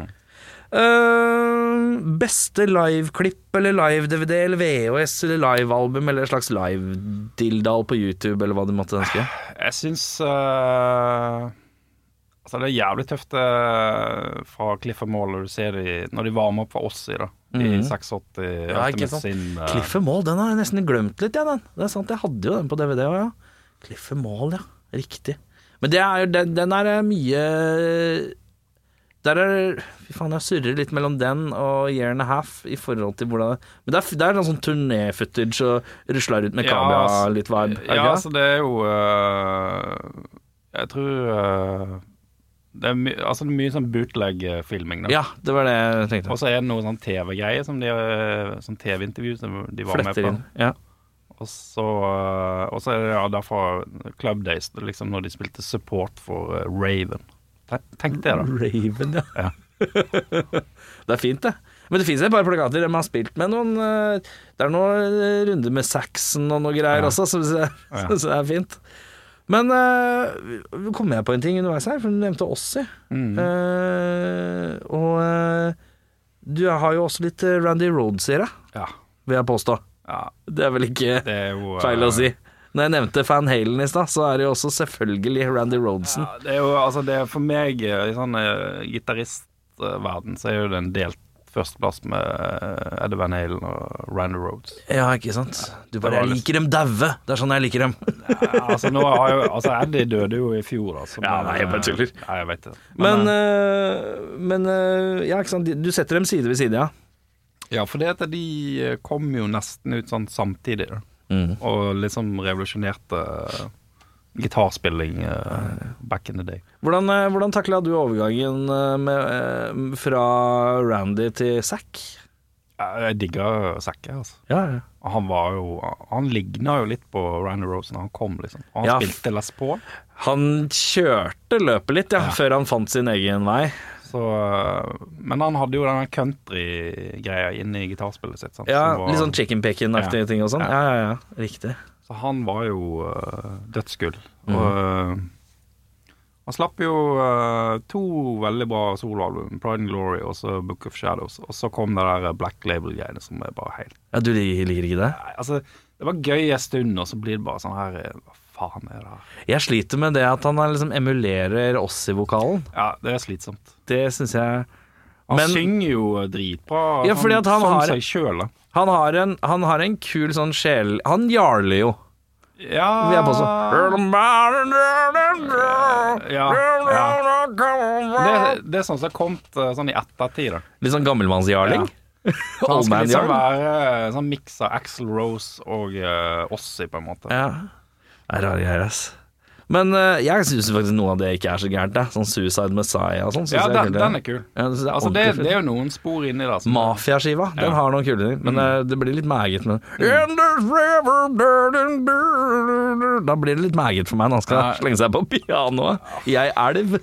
Eh, Beste liveklipp eller live-DVD eller VHS eller livealbum eller en slags live-dildal på YouTube eller hva du måtte ønske?
Jeg syns eh, Altså, det er jævlig tøft eh, fra Cliff og Mauler, du ser de når de varmer opp for oss i det. I 86
Ja, ikke
Ultimate
sant.
sin eh,
Cliffe Mall, den har jeg nesten glemt litt, ja, den. Det er sant, jeg hadde jo den på DVD òg, ja. Cliffe Mall, ja. Riktig. Men det er, jo- den, den er mye Der er Fy faen, jeg surrer litt mellom den og Year and a Half i forhold til hvordan Men det er, det er noe sånn turné-footage og rusler rundt med
Ja,
kamera,
altså-
litt vibe. er det
Ja,
ikke
altså, det er jo eh, Jeg tror eh, det, er my, altså, det er mye sånn bootleg-filming.
det?
da.
ja, det var det jeg tenkte.
Og så er det noe sånn TV-greier, som de, eh, sånn TV-intervju som de var
Fletter inn.
med på.
Ja.
Og så, eh, og så er det ja, da fra Club Days, det er liksom når de spilte support for eh, Raven. Tenk- Tenk det, da.
Raven, ja. det er fint, det. Men det fins et par plakater der man har spilt med noen eh, Det er noen eh, runder med Saxon og noe greier også, så det, så det er fint. Men uh, kom jeg på en ting underveis her, for du nevnte Ossi.
Mm.
Eh, og eh, du har jo også litt eh, Randy Rhodes i deg,
Ja.
vil jeg påstå.
ja
Det er vel ikke
det er jo eh,
feil å si. Når jeg nevnte Van Halen i stad, så er det jo også selvfølgelig Randy Rhodesen.
Ja, det er jo, altså det er for meg eh, i sånn eh, gitaristverden så er jo det en delt førsteplass med eh, Eddie Van Halen og Randy Rhodes.
Ja, ikke sant? Du
Det
bare
var
'Jeg
litt-
liker dem daue'. Det er sånn jeg liker dem.
altså, nå har jo, altså, Eddie døde jo i fjor, altså.
Ja,
men,
nei, jeg bare
eh,
tuller.
Nei, jeg vet det.
Men,
eh,
øh, men øh, Ja, ikke sant. De- Du setter dem side ved side, ja.
Ja, for det at de eh, kom jo nesten ut sånn samtidig, da.
Mm.
og liksom revolusjonerte eh, gitarspilling eh, back in the day.
Hvordan, øh, hvordan takla du overgangen øh, med, øh, fra Randy til Zack?
Jeg jeg digger Sække, altså.
Ja, ja.
Han var jo Han ligna jo litt på Randy Rose når han kom, liksom. Han
Ja.
spilte Les Paul,
Han kjørte løpet litt, ja, før han fant sin egen vei.
så eh, Men han hadde jo denne country-greia inni gitarspillet sitt, sant.
Ja,
som var-
Litt sånn chicken picking-aktige
Ja.
ting og sånn.
Ja.
Ja, ja, ja. Riktig.
Så han var jo uh, dødsgull.
Mm.
Og eh, han slapp jo eh, to veldig bra soloalbum, 'Pride and Glory' og så 'Book of Shadows'. Og så kom det der eh, Black Label-greiene som er bare helt
Ja, Du liker ikke det?
Nei, altså, det var gøy en stund, og så blir det bare sånn her eh, Hva faen er det her?
Jeg sliter med det at han er liksom emulerer oss i vokalen.
Ja, det er slitsomt.
Det syns jeg
Han
Men-
synger jo eh, dritbra.
Ja, fordi at han
som
har-
seg sjøl, da.
Han har en, han har en kul sånn sjel... Han jarler jo.
Ja
Vi er på sånn
Ja, ja. Det, det er sånn som har kommet eh, sånn i ettertid, da.
Litt sånn gammelmannsjarling.
Han
Old
skulle
man
liksom
jarl.
være sånn miks av Axl Rose og uh, Ossi, på en måte.
Ja. Det er rare greier, ass. Men eh, jeg syns faktisk noe av det ikke er så gærent. da. Sånn Suicide Messiah og sånn. synes
Ja,
jeg
den,
kult,
den er kul.
Ja, det synes jeg er
Altså, det,
ordentlig
det er jo noen spor inni der. som-
Mafiaskiva, den
Ja. Mm.
har noen kule ting, men eh, det blir litt meget med And there's river, da, da, da, da. Da blir det litt meget for meg når han skal
Nei.
slenge seg på pianoet. Jeg elv.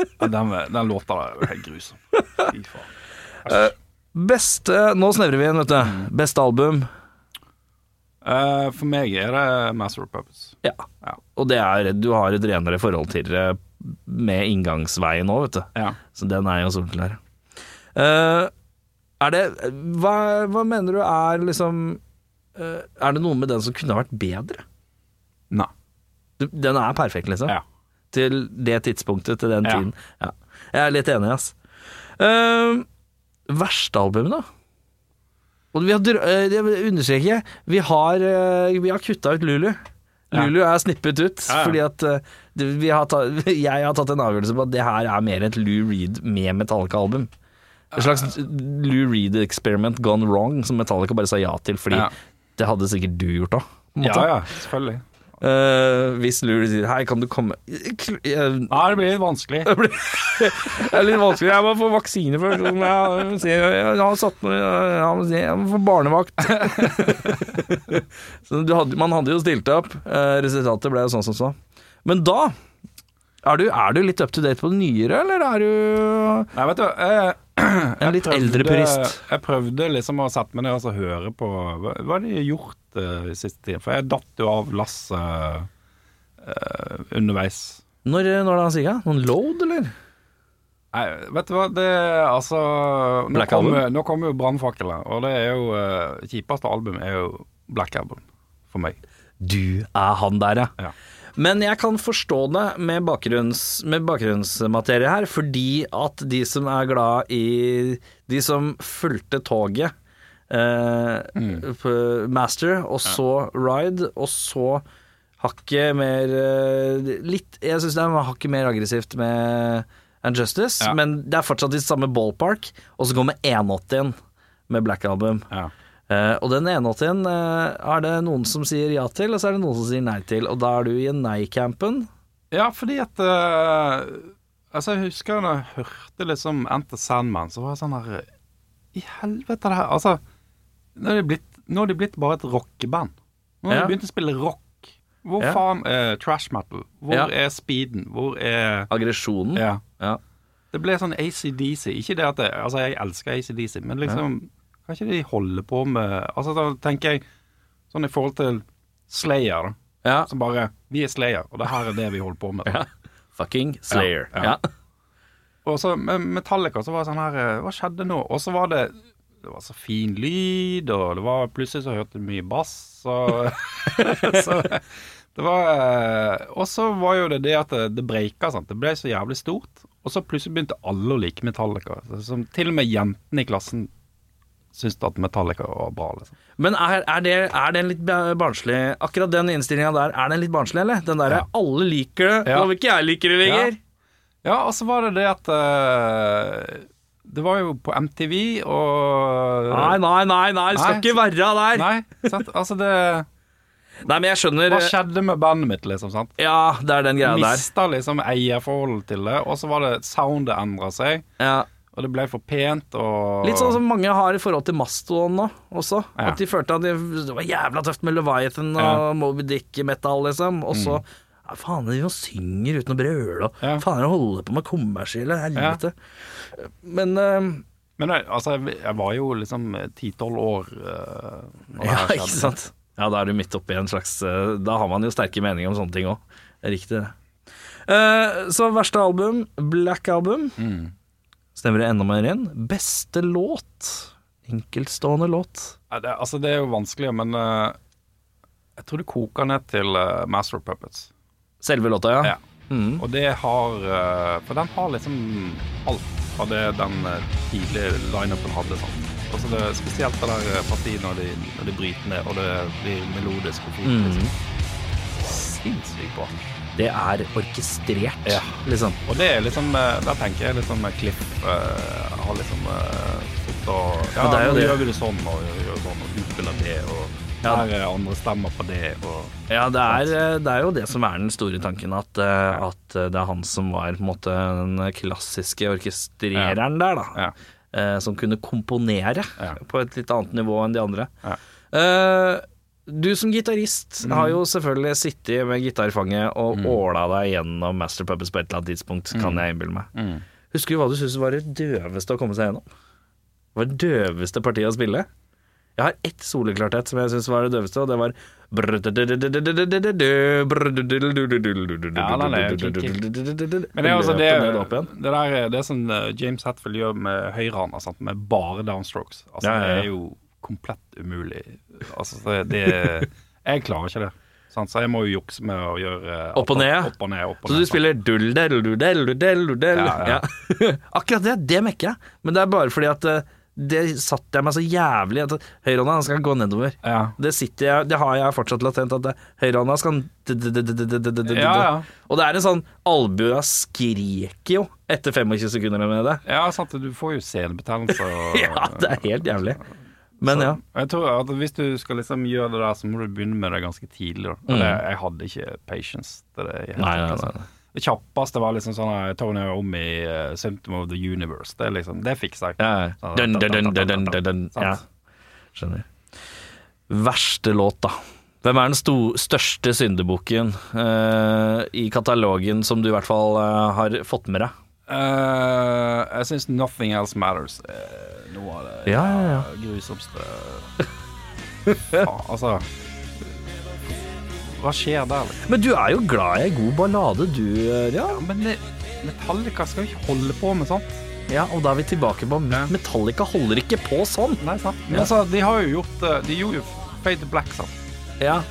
Ja, den, den låta der er jo helt grusom. Fy faen.
Beste Nå snevrer vi inn, vet du.
Mm.
Beste album.
Eh, for meg er det Master of Puppets.
Ja.
Ja.
Og det er Du har et renere forhold til det med inngangsveien nå, vet du.
Ja.
Så den er jo soleklar. Eh, er det hva, hva mener du er liksom eh, Er det noe med den som kunne vært bedre?
Nei.
Du- Den er perfekt, liksom.
Ja.
til det tidspunktet, til den
Ja.
tiden. Ja. Jeg er litt enig, ass. Uh, verste album, da? Og vi har, dr- eh, jeg vil understreke, vi har, eh, vi har kutta ut Lulu.
Ja.
Lulu er snippet ut,
Ja, ja.
fordi at eh, det- vi har ta, jeg har tatt en avgjørelse på at det her er mer et Lou Reed med Metallica-album. Et slags Lou Reed-experiment gone wrong, som Metallica bare sa ja til, fordi
Ja.
det hadde sikkert du gjort òg.
Ja, ja, selvfølgelig.
Eh, hvis Lou Reed sier 'hei, kan du komme' Kl- eh,
Nei, det blir litt vanskelig.
Det er litt vanskelig. Jeg må få vaksine først. Sånn, Jeg, må si- jeg har satt meg Jeg må si- jeg må få barnevakt. så du hadde, man hadde jo stilt opp. Eh, Resultatet ble jo sånn som så. Men da er du, er du litt up to date på det nyere, eller er du
Nei, vet du jeg, jeg
litt eldre purist.
Jeg prøvde liksom å sette meg ned og så høre på Hva hva har de gjort eh, i siste tid? For jeg datt jo av lasset eh, underveis.
Når, når da, Siga? Noen load, eller?
Nei, vet du hva, det Altså Nå
Black
kommer
Album?
nå kommer jo Brannfakkelen, og det er jo eh, Kjipeste album er jo Black Album, for meg.
Du er han der,
Ja.
Men jeg kan forstå det med, bakgrunns, med bakgrunnsmaterie her, fordi at de som er glad i De som fulgte toget eh, på Master, og så Ride, og så hakket mer eh, Litt Jeg syns det er hakket mer aggressivt med Unjustice,
Ja.
men det er fortsatt i samme ballpark, og så kommer 180-en med Black Album.
Ja.
Eh, og den 81 uh, er det noen som sier ja til, og så er det noen som sier nei til. Og da er du i nei-campen.
Ja, fordi at eh, Altså, jeg husker da jeg hørte liksom Enter Sandman, så var jeg sånn her I helvete, det her Altså, nå er de blitt, nå er de blitt bare et rockeband. Nå har
Ja.
de begynt å spille rock. Hvor
Ja.
faen er trash metal? Hvor
Ja.
er speeden? Hvor er
Aggresjonen.
Ja.
Ja.
Det ble sånn ACDC. Ikke det at det, Altså, jeg elsker ACDC, men liksom Kan ikke de holde på med Altså, da tenker jeg sånn i forhold til Slayer, da.
Ja.
Som bare Vi er Slayer, og det her er det vi holder på med.
Ja. Fucking Slayer.
Ja,
Ja.
ja. Og så med Metallica så var det sånn her eh, Hva skjedde nå? Og så var det det var så fin lyd, og det var plutselig så hørte du mye bass. Og, så, Det var Og så var jo det det at det, det breika, sant. Det ble så jævlig stort. Og så plutselig begynte alle å like Metallica. Så- Som til og med jentene i klassen syntes at Metallica var bra, liksom.
Men er, er, det, er den litt ba- barnslig Akkurat den innstillinga der, er den litt barnslig, eller? Den derre 'alle liker det',
Ja.
ja. og ikke jeg liker det lenger.
Ja, og så var det det at eh, Det var jo på MTV, og
Nei, nei, nei, nei, skal
Nei.
ikke være der. Nei.
Nei, sant? Altså, det
men jeg skjønner
Hva skjedde med bandet mitt, liksom? sant?
Ja, det er den greia der.
Mista liksom eierforholdet til det, og så var det soundet endra seg,
Ja.
og det ble for pent og
Litt sånn som mange har i forhold til Mastodon nå, også.
Ja.
At de følte at det det var jævla tøft med Leviathan og
Ja.
Moby Dick-metal, liksom. Og så ja, Faen, de jo synger uten å brøle, og
Ja.
faen, de holder på med kommersielle helvete. Men eh,
Men jeg- altså, jeg, jeg var jo liksom ti-tolv år uh,
Ja, ikke sant? Ja, da er du midt oppi en slags eh, Da har man jo sterke meninger om sånne ting òg. Riktig, det. Eh, så verste album, Black Album. Stemmer det enda mer inn? Beste låt. Enkeltstående låt.
Det, altså, det er jo vanskelig, men eh, jeg tror det koker ned til eh, Master of Puppets.
Selve låta, ja. Mm.
Ja. Og det har eh, For den har liksom alt av det den eh, tidlige lineupen hadde. Sånn. Altså det, spesielt det der eh, partiet når de, når de bryter ned, og det blir melodisk
Mm.
og fint. Liksom. Sinnssykt bra.
Det er orkestrert,
Ja.
liksom.
Og det er liksom eh, Der tenker jeg liksom eh, Klipp eh, har liksom eh, sittet og Ja,
Men det er jo
nå
det.
gjør vi det sånn, og gjør, gjør sånn, og utspiller det, og
Ja.
der er andre stemmer på det, og
Ja, det er, eh, det er jo det som er den store tanken, at, eh, at eh, det er han som var på en måte den klassiske orkestrereren der, da.
Ja.
Eh, Som kunne komponere
Ja.
på et litt annet nivå enn de andre.
Ja.
Eh, Du som gitarist har jo selvfølgelig sittet med gitar i fanget og åla deg gjennom Master Puppets på et eller annet tidspunkt, kan jeg innbille meg. Husker du hva du syntes var det døveste å komme seg gjennom? Det var det døveste partiet å spille? Jeg har ett soloklartett som jeg syns var det døveste, og det var
Men det er altså det
opp igjen.
Det der er det er sånn eh, James Hetfield gjør med høyrehånda, sant, med bare downstrokes. Altså,
Ja, ja, ja.
Det er jo komplett umulig. Altså, det, det Jeg klarer ikke det. Sant? Så jeg må jo jukse med å gjøre eh,
Opp og ned?
Opp og ned, opp og
Så
ned,
du
sant?
spiller dull-del-du-del-du-del-du-del
Ja,
Akkurat det, det mekker jeg. Men det er bare fordi at eh, det satte jeg meg så jævlig at høyrehånda den skal gå nedover.
Ja.
Det, sitter jeg, det har jeg fortsatt latent, at det- høyrehånda skal
Ja, ja.
Og det er en sånn Albua skriker jo etter 25 sekunder med det.
Ja, sant. Du får jo senebetennelse og
Ja, det er helt jævlig. Men ja.
Jeg tror at Hvis du skal liksom gjøre det der, så må du begynne med det ganske tidlig. Da. Og det- Jeg hadde ikke patience til det. i
Mm.
hele
Nei,
tatt,
nei,
liksom.
nei, nei.
Det kjappeste var liksom sånn her, Tony om i eh, Symptom of the Universe. Det, er liksom, det fikser jeg. Sånn,
Ja, ja. Dun, dun, dun, dun, dun, dun, dun.
Sant.
Ja. Skjønner. Verste låt, da. Hvem er den sto største syndebukken eh, i katalogen som du i hvert fall eh, har fått med deg?
Eh, jeg syns Nothing Else Matters er noe av det
Ja, ja, ja.
grusomste Faen, Altså Hva skjer der, liksom?
Men du er jo glad i ei god ballade, du, eh, Rian.
Men det, Metallica skal jo ikke holde på med sånt.
Ja, og da er vi tilbake på
Ja.
Metallica holder ikke på sånn.
Nei, sant. Men altså, de har jo gjort eh, De gjorde jo Fade to Black, sant.
Ja.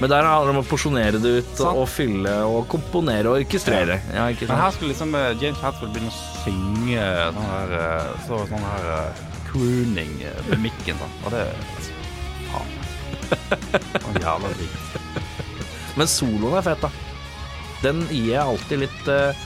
Men der handler det om å porsjonere det ut,
Sant.
og fylle, og komponere og orkestrere. Ja, ikke
Men
sant?
her skulle liksom eh, James Hatfield begynne å synge sånn her eh, Så sånn her eh, crooning eh, med mikken, sant. Og det altså, Faen. Å, Jævla digg.
Men soloen er fet, da. Den gir jeg alltid litt eh,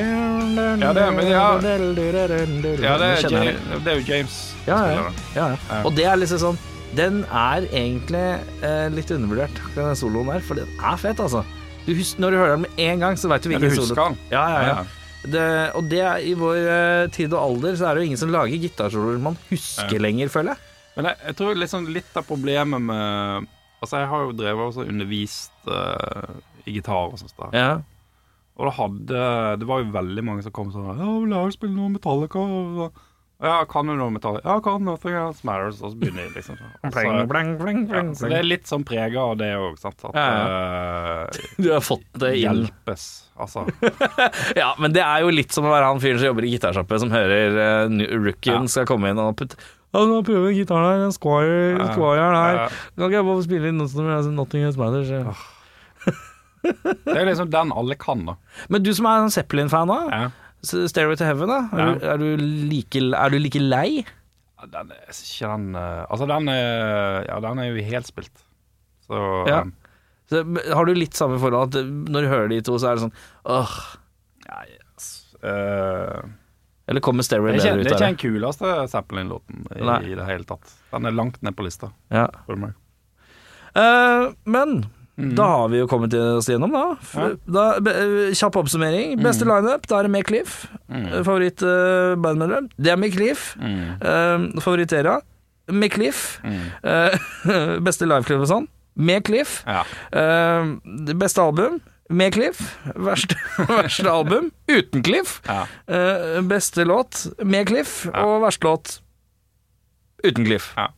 Ja, det er- men ja. Ja, det
Den
er,
kjenner jeg litt.
Ja, det er jo James. som
Ja, ja,
spiller det.
ja, ja. Og det er liksom sånn Den er egentlig eh, litt undervurdert, akkurat den soloen der, for den er fet, altså. Du hus- når du hører den med en gang, så veit du
Ja,
hvilken
du
solo.
husker den.
Ja, ja, ja.
Ja.
Det, og det er, i vår eh, tid og alder så er det jo ingen som lager gitarsoloer man husker lenger, føler jeg.
Men jeg, jeg tror liksom litt av problemet med Altså, jeg har jo drevet også undervist eh, i gitar og sånt. der.
Ja.
Og det hadde Det var jo veldig mange som kom sånn Ja, vil jeg spille noe Metallica? Og så, Ja, kan du noe Metallica? Ja, kan Nothing Else Matters. Og så begynner de liksom sånn. Så, ja, så det er litt sånn prega av det òg, sant. At eh,
Du har fått det inn.
hjelpes, altså.
Ja, men det er jo litt som å være han fyren som jobber i gitarsjappe, som hører eh, nu- rookien
Ja.
skal komme inn og putte ja, nå prøver vi gitaren her, den squire,
Ja.
squire her.
Ja.
altså, Kan ikke jeg bare få spille inn noe som er Nothing Else Matters?
Det er liksom den alle kan, da.
Men du som er en Zeppelin-fan, da.
Ja.
S- Stairway to Heaven, da. Er, du, er, du like, er du like lei?
Den er jeg synes ikke den eh, Altså, den er, ja, den er jo helspilt. Så
Ja.
ja.
Så, men har du litt samme forhold at eh, når du hører de to, så er det sånn åh
yes. Eh,
Eller kommer Stairway
det, er ikke,
bedre ut
det er ikke
av det?
den kuleste Zeppelin-låten i,
Nei.
i det hele tatt. Den er langt ned på lista.
Ja.
spør du meg.
Eh, men da har vi jo kommet oss gjennom, da. F-
Mm. Ja. Mm.
da be, eh, kjapp oppsummering. Beste lineup, da er det eh, Cliff Favoritt-bandmedlem. det er McLiff.
Mm.
Uh, Favorittera. McLiff. beste liveklipp og sånn. Med Cliff.
Mm. Ja.
Eh, det beste album med Cliff. Verste, verste album uten Cliff.
Ja.
Eh, beste låt med Cliff, og verste låt uten Cliff.
Ja.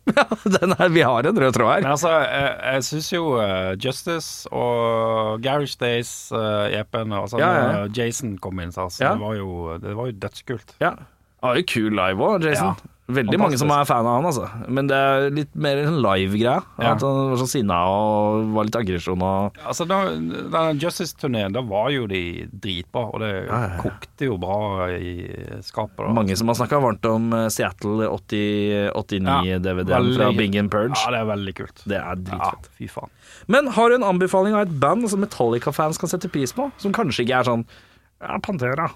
Den her, vi har en rød tråd her.
Men altså, jeg, jeg syns jo eh, Justice og Garage Days, uh, EP-en altså,
Ja, ja, ja.
når Jason kom inn, så altså,
Ja.
det, var jo, det var jo dødskult.
Ja. Han er jo kul live òg, Jason. Veldig mange som er fan av han, altså. Men det er litt mer en live-greie.
Ja.
At han var så sinna og var litt aggresjon og
Altså, da, denne Justice-turneen, da var jo de dritbra, og det kokte jo bra i skapet. Da.
Mange som har snakka varmt om eh, Seattle 89
Ja,
dvd
veldig.
fra Bing and Purge.
Ja, det er veldig kult.
Det er
Ja,
dritfett.
fy faen.
Men har du en anbefaling av et band som Metallica-fans kan sette pris på? Som kanskje ikke er sånn ja, Pantera.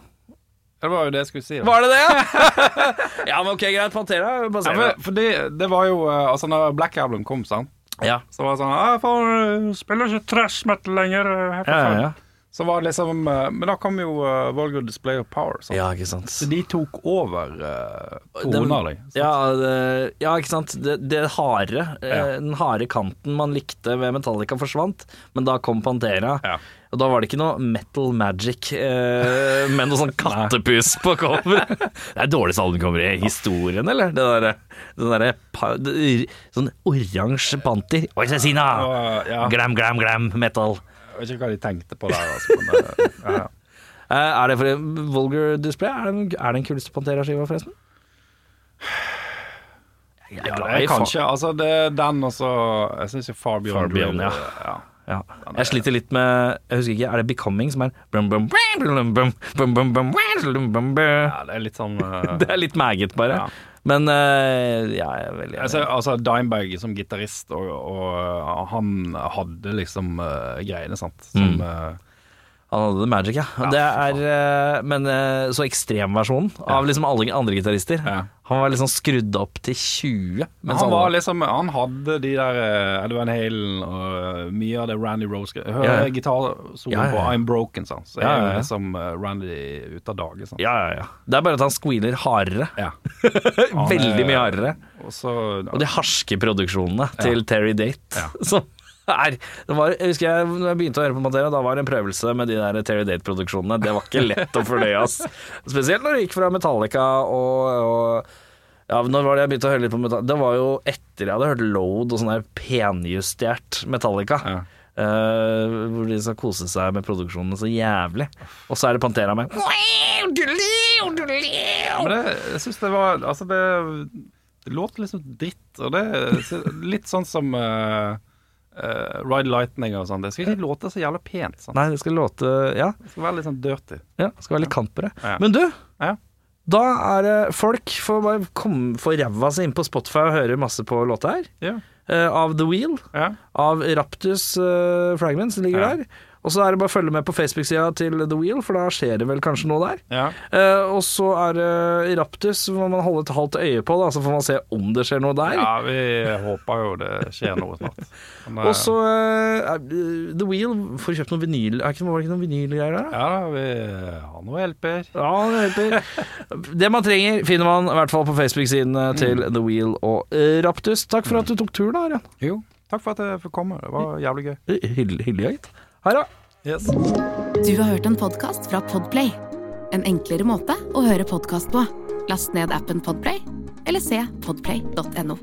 Det var jo det jeg skulle si. Da.
Var det det? ja, men ok, greit. Pantera.
Ja,
Baserer.
men, fordi det var jo eh, Altså, når Black Album kom, sant,
Ja,
så var det sånn «Ah, faen, jeg spiller ikke trash metal lenger. eh, her for
ja,
faen».
ja.
Så var det liksom eh, Men da kom jo uh, Volgar Display of Power. Sant?
ja ikke sant.
Så de tok over uh, kona di. sant?
Ja, det, ja, ikke sant. Det, det harde, eh, den harde kanten man likte ved Metallica forsvant, men da kom Pantera.
Ja.
Og da var det ikke noe metal magic, eh, men noe sånn kattepus på cover. det er dårligste albumcover i historien, eller? Det derre den derre pa- det- Sånn oransje panter. Oi,
Og,
Cecina!
eh, ja,
Glam, glam, glam, metal.
jeg vet ikke hva de tenkte på der, altså. Men, eh, ja, ja.
Eh, er det for en vulgar display? Er det den, er det den kuleste Pantera-skiva, forresten? Jeg er
Ja,
glad
det
i
er
fa-
kanskje altså det, den også Jeg syns jo Far Beyond,
Far Beyond,
Drill, ja.
Ja. Jeg sliter litt med Jeg husker ikke, er det 'Becoming' som er brum, brum, brum, brum, brum, brum, brum, brum, brum, brum, brum.
Ja, det er litt sånn eh,
Det er litt meget, bare.
Ja.
Men eh, ja, jeg er veldig
altså, altså Dimebag som gitarist, og, og eh, han hadde liksom eh, greiene, sant.
Mm.
Som, eh,
Han hadde det magic, ja. Det er, eh, men eh, så ekstremversjonen av liksom alle andre gitarister.
Ja.
Han var liksom skrudd opp til 20. mens
han
alle-
var liksom Han hadde de der eh, Edvin Halen og eh, mye av det Randy Rose Jeg
Ja, ja.
Hører gitarsoloen
Ja, ja, ja.
på I'm Broken, sant. Så er
Ja, ja, ja.
liksom eh, Randy ute av dage, sant.
ja, ja, ja. Det er bare at han squealer hardere.
Ja.
Veldig mye hardere.
Og så
Og de harske produksjonene til Terry Date.
Ja.
Som er, det var, jeg husker jeg, når jeg begynte å høre på Materia, da var det en prøvelse med de der Terry Date-produksjonene. Det var ikke lett å fordøye, ass. Spesielt når det gikk fra Metallica og, og ja, Når var det jeg begynte å høre litt på Metallica? Det var jo etter jeg hadde hørt Load og sånn der penjustert Metallica.
Ja.
eh, hvor de skal kose seg med produksjonene så jævlig. Og så er det Pantera med.
Men det, jeg syns det var Altså, det, det låter liksom dritt, og det Litt sånn som eh, eh, Ride Lightning og sånn. Det skal ikke låte så jævla pent. Sant?
Nei, det skal låte Ja.
Det skal være litt sånn dirty.
Ja, skal være litt kant på det.
Ja.
Men du,
Ja.
da er det folk får bare komme for ræva si inn på Spotify og høre masse på låta her.
Ja.
Eh, av The Wheel,
Ja.
av Raptus eh, Fragments ligger
Ja.
der. Og så er det bare å følge med på Facebook-sida til The Wheel, for da skjer det vel kanskje noe der.
Ja.
Eh, og så er det Raptus, må man holde et halvt øye på, da, så får man se om det skjer noe der.
ja, vi håper jo det skjer noe snart. Men, eh,
Og så eh, er- The Wheel, får du kjøpt noen vinyl Er ikke, var det ikke noen vinylgreier der? da?
Ja, vi har noen hjelper.
Ja, det hjelper. Det man trenger, finner man i hvert fall på Facebook-siden eh, til The Wheel og eh, Raptus. Takk for at du tok turen, Arian.
Jo. Takk for at jeg fikk komme. Det var jævlig gøy.
Hyggelig, hyggelig, gitt. Her, da.
Yes.
Du har hørt en podcast fra Podplay. En enklere måte å høre podcast på. Last ned appen Podplay, eller se podplay.no.